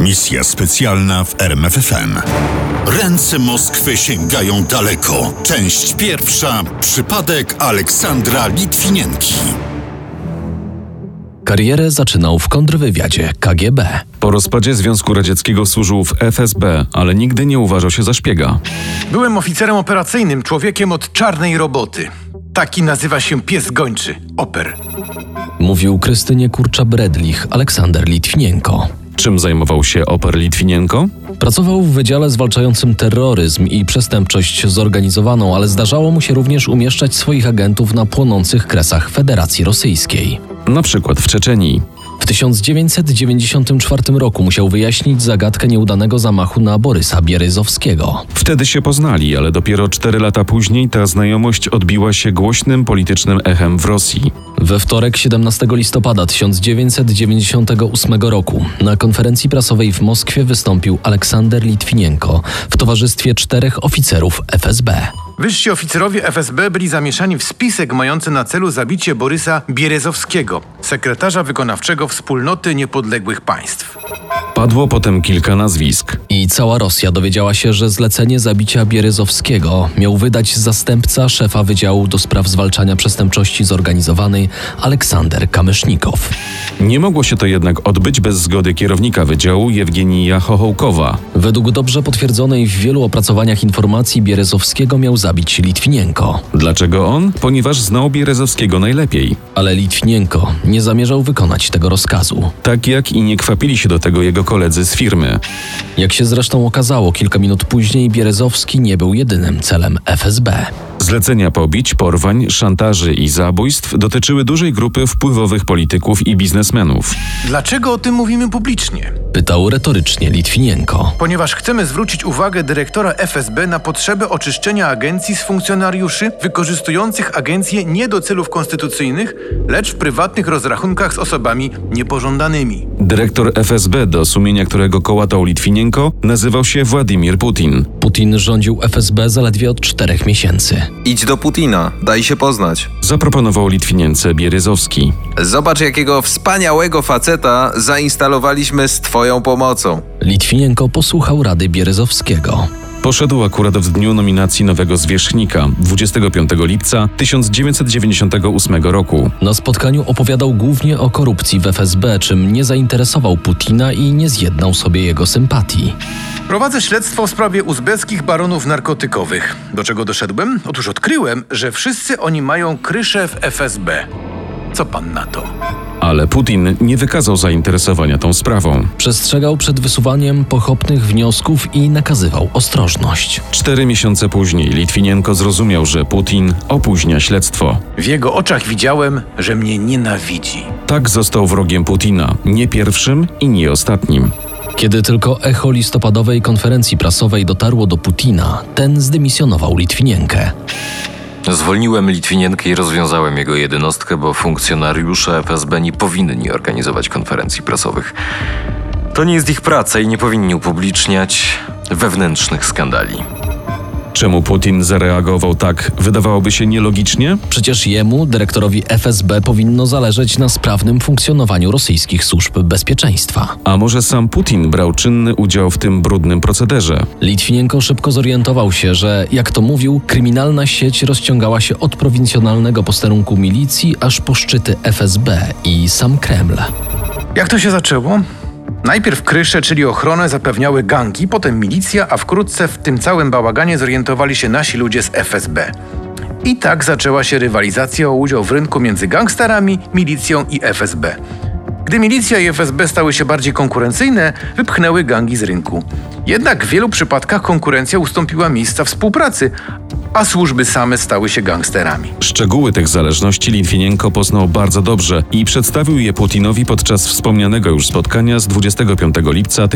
Misja specjalna w RMFFM. Ręce Moskwy sięgają daleko. Część pierwsza. Przypadek Aleksandra Litwinienki. Karierę zaczynał w kontrwywiadzie KGB. Po rozpadzie Związku Radzieckiego służył w FSB, ale nigdy nie uważał się za szpiega. Byłem oficerem operacyjnym, człowiekiem od czarnej roboty. Taki nazywa się pies gończy, oper. Mówił Krystynie Kurcza-Bredlich Aleksander Litwinienko. Czym zajmował się oper Litwinienko? Pracował w Wydziale Zwalczającym Terroryzm i Przestępczość Zorganizowaną, ale zdarzało mu się również umieszczać swoich agentów na płonących kresach Federacji Rosyjskiej. Na przykład w Czeczenii. W 1994 roku musiał wyjaśnić zagadkę nieudanego zamachu na Borysa Bieryzowskiego. Wtedy się poznali, ale dopiero cztery lata później ta znajomość odbiła się głośnym politycznym echem w Rosji. We wtorek 17 listopada 1998 roku na konferencji prasowej w Moskwie wystąpił Aleksander Litwinienko w towarzystwie czterech oficerów FSB. Wyżsi oficerowie FSB byli zamieszani w spisek mający na celu zabicie Borysa Bierezowskiego, sekretarza wykonawczego Wspólnoty Niepodległych Państw. Padło potem kilka nazwisk. I cała Rosja dowiedziała się, że zlecenie zabicia Bieryzowskiego miał wydać zastępca szefa Wydziału do Spraw Zwalczania Przestępczości Zorganizowanej Aleksander Kamysznikow. Nie mogło się to jednak odbyć bez zgody kierownika wydziału Jewgenija Chochołkowa. Według dobrze potwierdzonej w wielu opracowaniach informacji Bieryzowskiego miał zabić Litwinienko. Dlaczego on? Ponieważ znał Bierezowskiego najlepiej. Ale Litwinienko nie zamierzał wykonać tego rozkazu. Tak jak i nie kwapili się do tego jego koledzy z firmy. Jak się zresztą okazało, kilka minut później Bierezowski nie był jedynym celem FSB. Zlecenia pobić, porwań, szantaży i zabójstw dotyczyły dużej grupy wpływowych polityków i biznesmenów. Dlaczego o tym mówimy publicznie? Pytał retorycznie Litwinienko. Ponieważ chcemy zwrócić uwagę dyrektora FSB na potrzebę oczyszczenia agencji z funkcjonariuszy wykorzystujących agencję nie do celów konstytucyjnych, lecz w prywatnych rozrachunkach z osobami niepożądanymi. Dyrektor FSB, do sumienia którego kołatał Litwinienko, nazywał się Władimir Putin. Putin rządził FSB zaledwie od czterech miesięcy. Idź do Putina, daj się poznać. Zaproponował Litwinience Bieryzowski. Zobacz, jakiego wspaniałego faceta zainstalowaliśmy z Twoją pomocą. Litwinienko posłuchał rady Bieryzowskiego. Poszedł akurat w dniu nominacji nowego zwierzchnika, 25 lipca 1998 roku. Na spotkaniu opowiadał głównie o korupcji w FSB, czym nie zainteresował Putina i nie zjednał sobie jego sympatii. Prowadzę śledztwo w sprawie uzbeckich baronów narkotykowych. Do czego doszedłem? Otóż odkryłem, że wszyscy oni mają kryszę w FSB. Co pan na to? Ale Putin nie wykazał zainteresowania tą sprawą. Przestrzegał przed wysuwaniem pochopnych wniosków i nakazywał ostrożność. Cztery miesiące później Litwinienko zrozumiał, że Putin opóźnia śledztwo. W jego oczach widziałem, że mnie nienawidzi. Tak został wrogiem Putina, nie pierwszym i nie ostatnim. Kiedy tylko echo listopadowej konferencji prasowej dotarło do Putina, ten zdymisjonował Litwinienkę. Zwolniłem Litwinienkę i rozwiązałem jego jedynostkę, bo funkcjonariusze FSB nie powinni organizować konferencji prasowych. To nie jest ich praca i nie powinni upubliczniać wewnętrznych skandali. Czemu Putin zareagował tak, wydawałoby się nielogicznie? Przecież jemu, dyrektorowi FSB, powinno zależeć na sprawnym funkcjonowaniu rosyjskich służb bezpieczeństwa. A może sam Putin brał czynny udział w tym brudnym procederze? Litwinienko szybko zorientował się, że, jak to mówił, kryminalna sieć rozciągała się od prowincjonalnego posterunku milicji aż po szczyty FSB i sam Kreml. Jak to się zaczęło? Najpierw krysze, czyli ochronę, zapewniały gangi, potem milicja, a wkrótce w tym całym bałaganie zorientowali się nasi ludzie z FSB. I tak zaczęła się rywalizacja o udział w rynku między gangsterami, milicją i FSB. Gdy milicja i FSB stały się bardziej konkurencyjne, wypchnęły gangi z rynku. Jednak w wielu przypadkach konkurencja ustąpiła miejsca współpracy, a służby same stały się gangsterami. Szczegóły tych zależności Litwinienko poznał bardzo dobrze i przedstawił je Putinowi podczas wspomnianego już spotkania z 25 lipca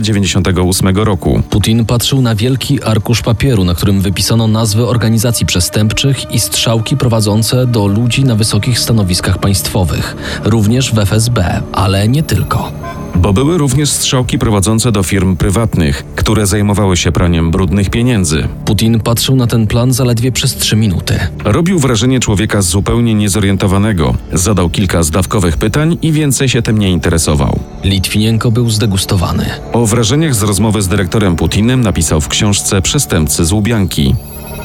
1998 roku. Putin patrzył na wielki arkusz papieru, na którym wypisano nazwy organizacji przestępczych i strzałki prowadzące do ludzi na wysokich stanowiskach państwowych, również w FSB, ale nie tylko. Bo były również strzałki prowadzące do firm prywatnych, które zajmowały się praniem brudnych pieniędzy. Putin patrzył na ten plan zaledwie przez trzy minuty. Robił wrażenie człowieka zupełnie niezorientowanego. Zadał kilka zdawkowych pytań i więcej się tym nie interesował. Litwinienko był zdegustowany. O wrażeniach z rozmowy z dyrektorem Putinem napisał w książce Przestępcy z Łubianki.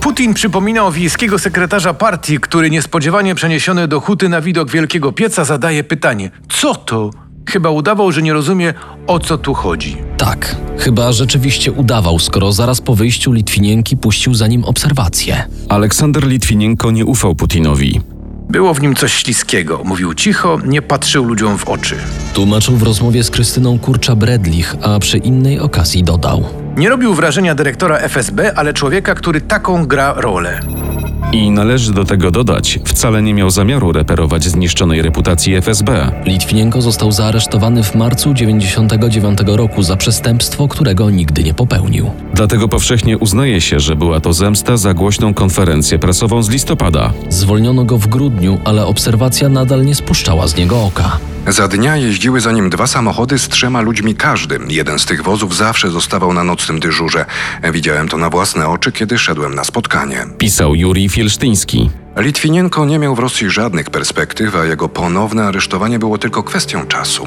Putin przypominał wiejskiego sekretarza partii, który niespodziewanie przeniesiony do huty na widok wielkiego pieca zadaje pytanie: Co to? Chyba udawał, że nie rozumie, o co tu chodzi. Tak, chyba rzeczywiście udawał, skoro zaraz po wyjściu Litwinienki puścił za nim obserwację. Aleksander Litwinienko nie ufał Putinowi. Było w nim coś śliskiego. Mówił cicho, nie patrzył ludziom w oczy. Tłumaczył w rozmowie z Krystyną Kurcza-Bredlich, a przy innej okazji dodał. Nie robił wrażenia dyrektora FSB, ale człowieka, który taką gra rolę. I należy do tego dodać, wcale nie miał zamiaru reperować zniszczonej reputacji FSB. Litwinienko został zaaresztowany w marcu 99 roku za przestępstwo, którego nigdy nie popełnił. Dlatego powszechnie uznaje się, że była to zemsta za głośną konferencję prasową z listopada. Zwolniono go w grudniu, ale obserwacja nadal nie spuszczała z niego oka. Za dnia jeździły za nim dwa samochody z trzema ludźmi każdym. Jeden z tych wozów zawsze zostawał na nocnym dyżurze. Widziałem to na własne oczy, kiedy szedłem na spotkanie. Pisał Jurij Fielsztyński. Litwinienko nie miał w Rosji żadnych perspektyw, a jego ponowne aresztowanie było tylko kwestią czasu.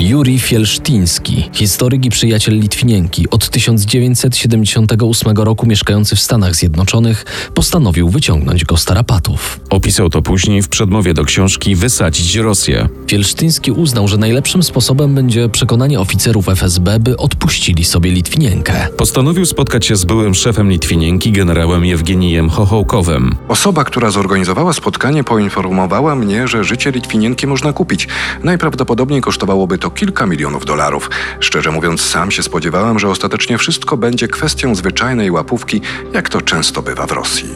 Juri Fielsztyński, historyk i przyjaciel Litwinienki, od 1978 roku mieszkający w Stanach Zjednoczonych, postanowił wyciągnąć go z tarapatów. Opisał to później w przedmowie do książki Wysadzić Rosję. Fielsztyński uznał, że najlepszym sposobem będzie przekonanie oficerów FSB, by odpuścili sobie Litwinienkę. Postanowił spotkać się z byłym szefem Litwinienki, generałem Jewgenijem Chochołkowem. Osoba, która zorganizowała spotkanie, poinformowała mnie, że życie Litwinienki można kupić. Najprawdopodobniej kosztowałoby to kilka milionów dolarów. Szczerze mówiąc, sam się spodziewałem, że ostatecznie wszystko będzie kwestią zwyczajnej łapówki, jak to często bywa w Rosji.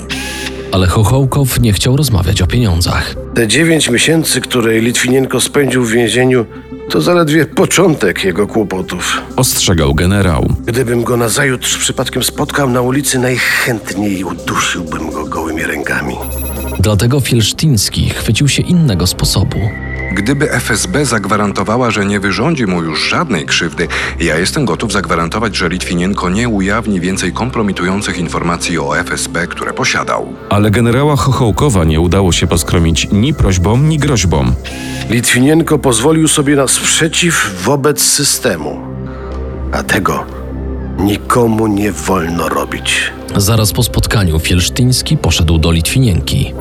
Ale Chochołkow nie chciał rozmawiać o pieniądzach. Te dziewięć miesięcy, które Litwinienko spędził w więzieniu, to zaledwie początek jego kłopotów. Ostrzegał generał. Gdybym go nazajutrz przypadkiem spotkał na ulicy, najchętniej udusiłbym go gołymi rękami. Dlatego Fielsztyński chwycił się innego sposobu. Gdyby FSB zagwarantowała, że nie wyrządzi mu już żadnej krzywdy, ja jestem gotów zagwarantować, że Litwinienko nie ujawni więcej kompromitujących informacji o FSB, które posiadał. Ale generała Chochołkowa nie udało się poskromić ni prośbą, ni groźbą. Litwinienko pozwolił sobie na sprzeciw wobec systemu. A tego nikomu nie wolno robić. Zaraz po spotkaniu Fielsztyński poszedł do Litwinienki.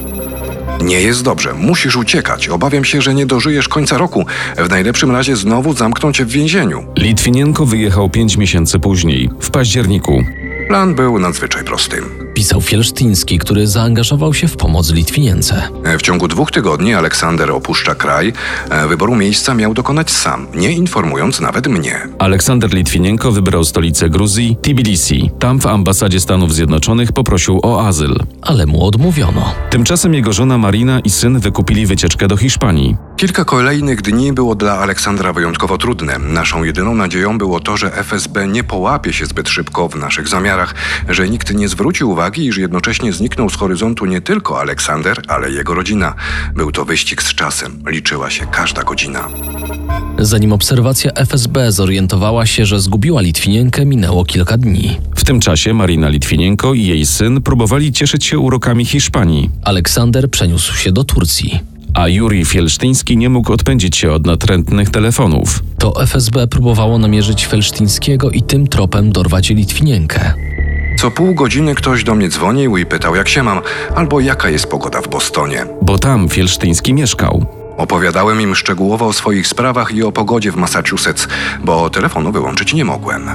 Nie jest dobrze, musisz uciekać. Obawiam się, że nie dożyjesz końca roku. W najlepszym razie znowu zamkną cię w więzieniu. Litwinienko wyjechał pięć miesięcy później, w październiku. Plan był nadzwyczaj prosty. Pisał Fielsztyński, który zaangażował się w pomoc Litwinience. W ciągu dwóch tygodni Aleksander opuszcza kraj. E, Wyboru miejsca miał dokonać sam, nie informując nawet mnie. Aleksander Litwinienko wybrał stolicę Gruzji, Tbilisi. Tam w ambasadzie Stanów Zjednoczonych poprosił o azyl. Ale mu odmówiono. Tymczasem jego żona Marina i syn wykupili wycieczkę do Hiszpanii. Kilka kolejnych dni było dla Aleksandra wyjątkowo trudne. Naszą jedyną nadzieją było to, że FSB nie połapie się zbyt szybko w naszych zamiarach, że nikt nie zwróci uwagi, iż jednocześnie zniknął z horyzontu nie tylko Aleksander, ale jego rodzina. Był to wyścig z czasem, liczyła się każda godzina. Zanim obserwacja FSB zorientowała się, że zgubiła Litwinienkę, minęło kilka dni. W tym czasie Marina Litwinienko i jej syn próbowali cieszyć się urokami Hiszpanii, Aleksander przeniósł się do Turcji. a Jurij Fielsztyński nie mógł odpędzić się od natrętnych telefonów. To FSB próbowało namierzyć Felsztyńskiego i tym tropem dorwać Litwinienkę. Co pół godziny ktoś do mnie dzwonił i pytał, jak się mam, albo jaka jest pogoda w Bostonie. Bo tam Fielsztyński mieszkał. Opowiadałem im szczegółowo o swoich sprawach i o pogodzie w Massachusetts, bo telefonu wyłączyć nie mogłem.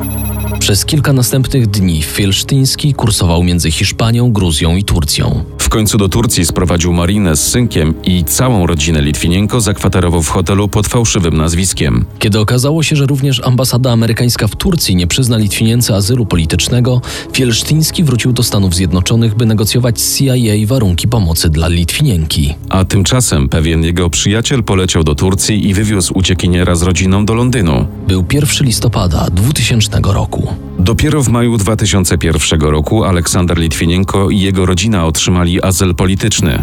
Przez kilka następnych dni Felsztyński kursował między Hiszpanią, Gruzją i Turcją. W końcu do Turcji sprowadził Marinę z synkiem i całą rodzinę Litwinienko zakwaterował w hotelu pod fałszywym nazwiskiem. Kiedy okazało się, że również ambasada amerykańska w Turcji nie przyzna Litwinience azylu politycznego, Fielsztyński wrócił do Stanów Zjednoczonych, by negocjować z CIA warunki pomocy dla Litwinienki. A tymczasem pewien jego przyjaciel poleciał do Turcji i wywiózł uciekiniera z rodziną do Londynu. Był 1 listopada 2000 roku. Dopiero w maju 2001 roku Aleksander Litwinienko i jego rodzina otrzymali azyl polityczny.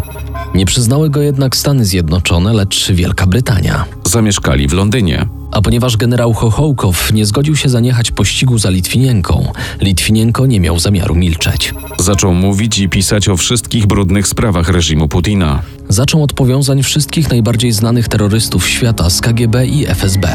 Nie przyznały go jednak Stany Zjednoczone, lecz Wielka Brytania. Zamieszkali w Londynie. A ponieważ generał Chochołkow nie zgodził się zaniechać pościgu za Litwinienką, Litwinienko nie miał zamiaru milczeć. Zaczął mówić i pisać o wszystkich brudnych sprawach reżimu Putina. Zaczął od powiązań wszystkich najbardziej znanych terrorystów świata z KGB i FSB.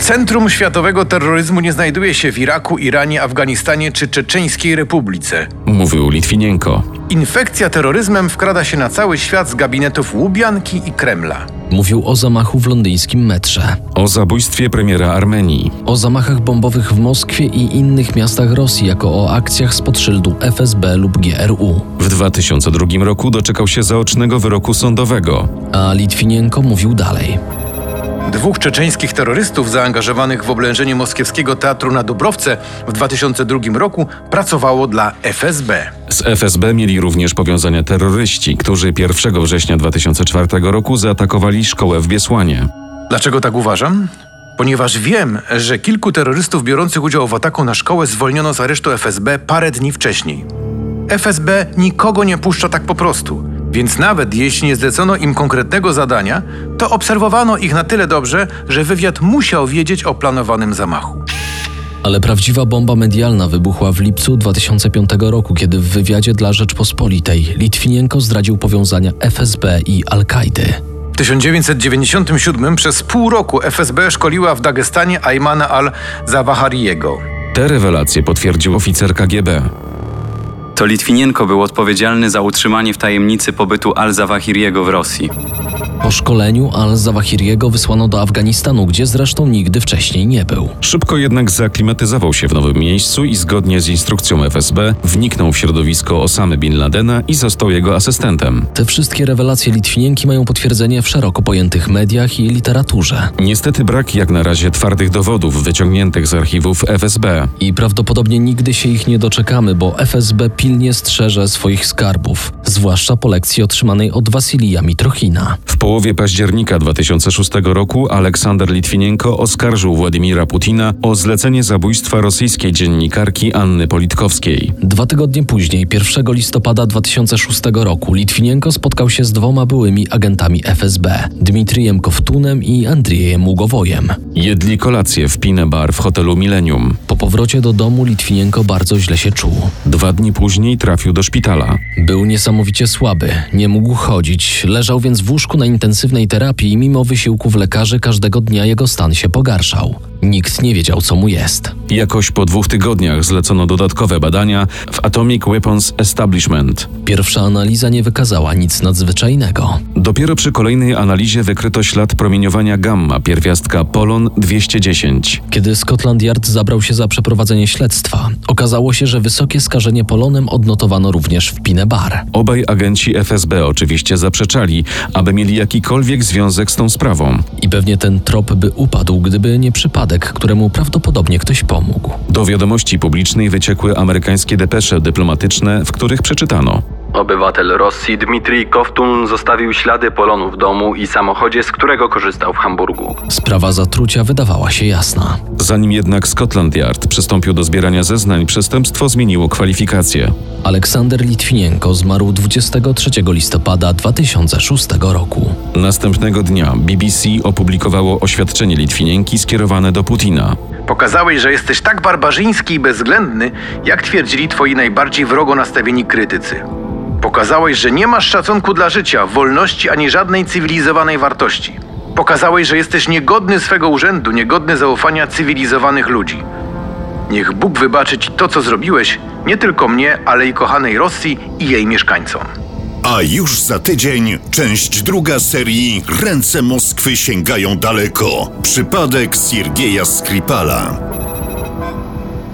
Centrum światowego terroryzmu nie znajduje się w Iraku, Iranie, Afganistanie czy Czeczeńskiej Republice. Mówił Litwinienko. Infekcja terroryzmem wkrada się na cały świat z gabinetów Łubianki i Kremla. Mówił o zamachu w londyńskim metrze, O zabójstwie premiera Armenii. o zamachach bombowych w Moskwie i innych miastach Rosji, jako o akcjach spod szyldu FSB lub GRU. W 2002 roku doczekał się zaocznego wyroku sądowego. A Litwinienko mówił dalej. Dwóch czeczeńskich terrorystów zaangażowanych w oblężenie moskiewskiego teatru na Dubrowce w 2002 roku pracowało dla FSB. Z FSB mieli również powiązania terroryści, którzy 1 września 2004 roku zaatakowali szkołę w Biesłanie. Dlaczego tak uważam? Ponieważ wiem, że kilku terrorystów biorących udział w ataku na szkołę zwolniono z aresztu FSB parę dni wcześniej. FSB nikogo nie puszcza tak po prostu, więc nawet jeśli nie zlecono im konkretnego zadania, to obserwowano ich na tyle dobrze, że wywiad musiał wiedzieć o planowanym zamachu. Ale prawdziwa bomba medialna wybuchła w lipcu 2005 roku, kiedy w wywiadzie dla Rzeczpospolitej Litwinienko zdradził powiązania FSB i Al-Kaidy. W 1997 przez pół roku FSB szkoliła w Dagestanie Aymana al-Zawahariego. Te rewelacje potwierdził oficer KGB. To Litwinienko był odpowiedzialny za utrzymanie w tajemnicy pobytu Al-Zawahiriego w Rosji. Po szkoleniu Al-Zawahiriego wysłano do Afganistanu, gdzie zresztą nigdy wcześniej nie był. Szybko jednak zaklimatyzował się w nowym miejscu i zgodnie z instrukcją FSB wniknął w środowisko Osamy Bin Ladena i został jego asystentem. Te wszystkie rewelacje Litwinienki mają potwierdzenie w szeroko pojętych mediach i literaturze. Niestety brak jak na razie twardych dowodów wyciągniętych z archiwów FSB. I prawdopodobnie nigdy się ich nie doczekamy, bo FSB pilnie strzeże swoich skarbów, zwłaszcza po lekcji otrzymanej od Wasilija Mitrochina. W połowie października 2006 roku Aleksander Litwinienko oskarżył Władimira Putina o zlecenie zabójstwa rosyjskiej dziennikarki Anny Politkowskiej. Dwa tygodnie później, 1 listopada 2006 roku, Litwinienko spotkał się z dwoma byłymi agentami FSB, Dmitrijem Kowtunem i Andriejem Ługowojem. Jedli kolację w Pine Bar w hotelu Millennium. Po powrocie do domu Litwinienko bardzo źle się czuł. Dwa dni później trafił do szpitala. Był niesamowicie słaby, nie mógł chodzić, leżał więc w łóżku na intensywnej terapii i mimo wysiłków lekarzy każdego dnia jego stan się pogarszał. Nikt nie wiedział, co mu jest. Jakoś po dwóch tygodniach zlecono dodatkowe badania w Atomic Weapons Establishment. Pierwsza analiza nie wykazała nic nadzwyczajnego. Dopiero przy kolejnej analizie wykryto ślad promieniowania gamma pierwiastka Polon 210. Kiedy Scotland Yard zabrał się za przeprowadzenie śledztwa, okazało się, że wysokie skażenie polonem odnotowano również w Pine Bar. Obaj agenci FSB oczywiście zaprzeczali, aby mieli jakikolwiek związek z tą sprawą. I pewnie ten trop by upadł, gdyby nie przypadek, któremu prawdopodobnie ktoś pomógł. Do wiadomości publicznej wyciekły amerykańskie depesze dyplomatyczne, w których przeczytano: Obywatel Rosji Dmitrij Koftun zostawił ślady polonu w domu i samochodzie, z którego korzystał w Hamburgu. Sprawa zatrucia wydawała się jasna. Zanim jednak Scotland Yard przystąpił do zbierania zeznań, przestępstwo zmieniło kwalifikację. Aleksander Litwinienko zmarł 23 listopada 2006 roku. Następnego dnia BBC opublikowało oświadczenie Litwinienki skierowane do Putina. Pokazałeś, że jesteś tak barbarzyński i bezwzględny, jak twierdzili twoi najbardziej wrogo nastawieni krytycy. Pokazałeś, że nie masz szacunku dla życia, wolności ani żadnej cywilizowanej wartości. Pokazałeś, że jesteś niegodny swego urzędu, niegodny zaufania cywilizowanych ludzi. Niech Bóg wybaczy ci to, co zrobiłeś, nie tylko mnie, ale i kochanej Rosji i jej mieszkańcom. A już za tydzień część druga serii Ręce Moskwy sięgają daleko. Przypadek Siergieja Skripala.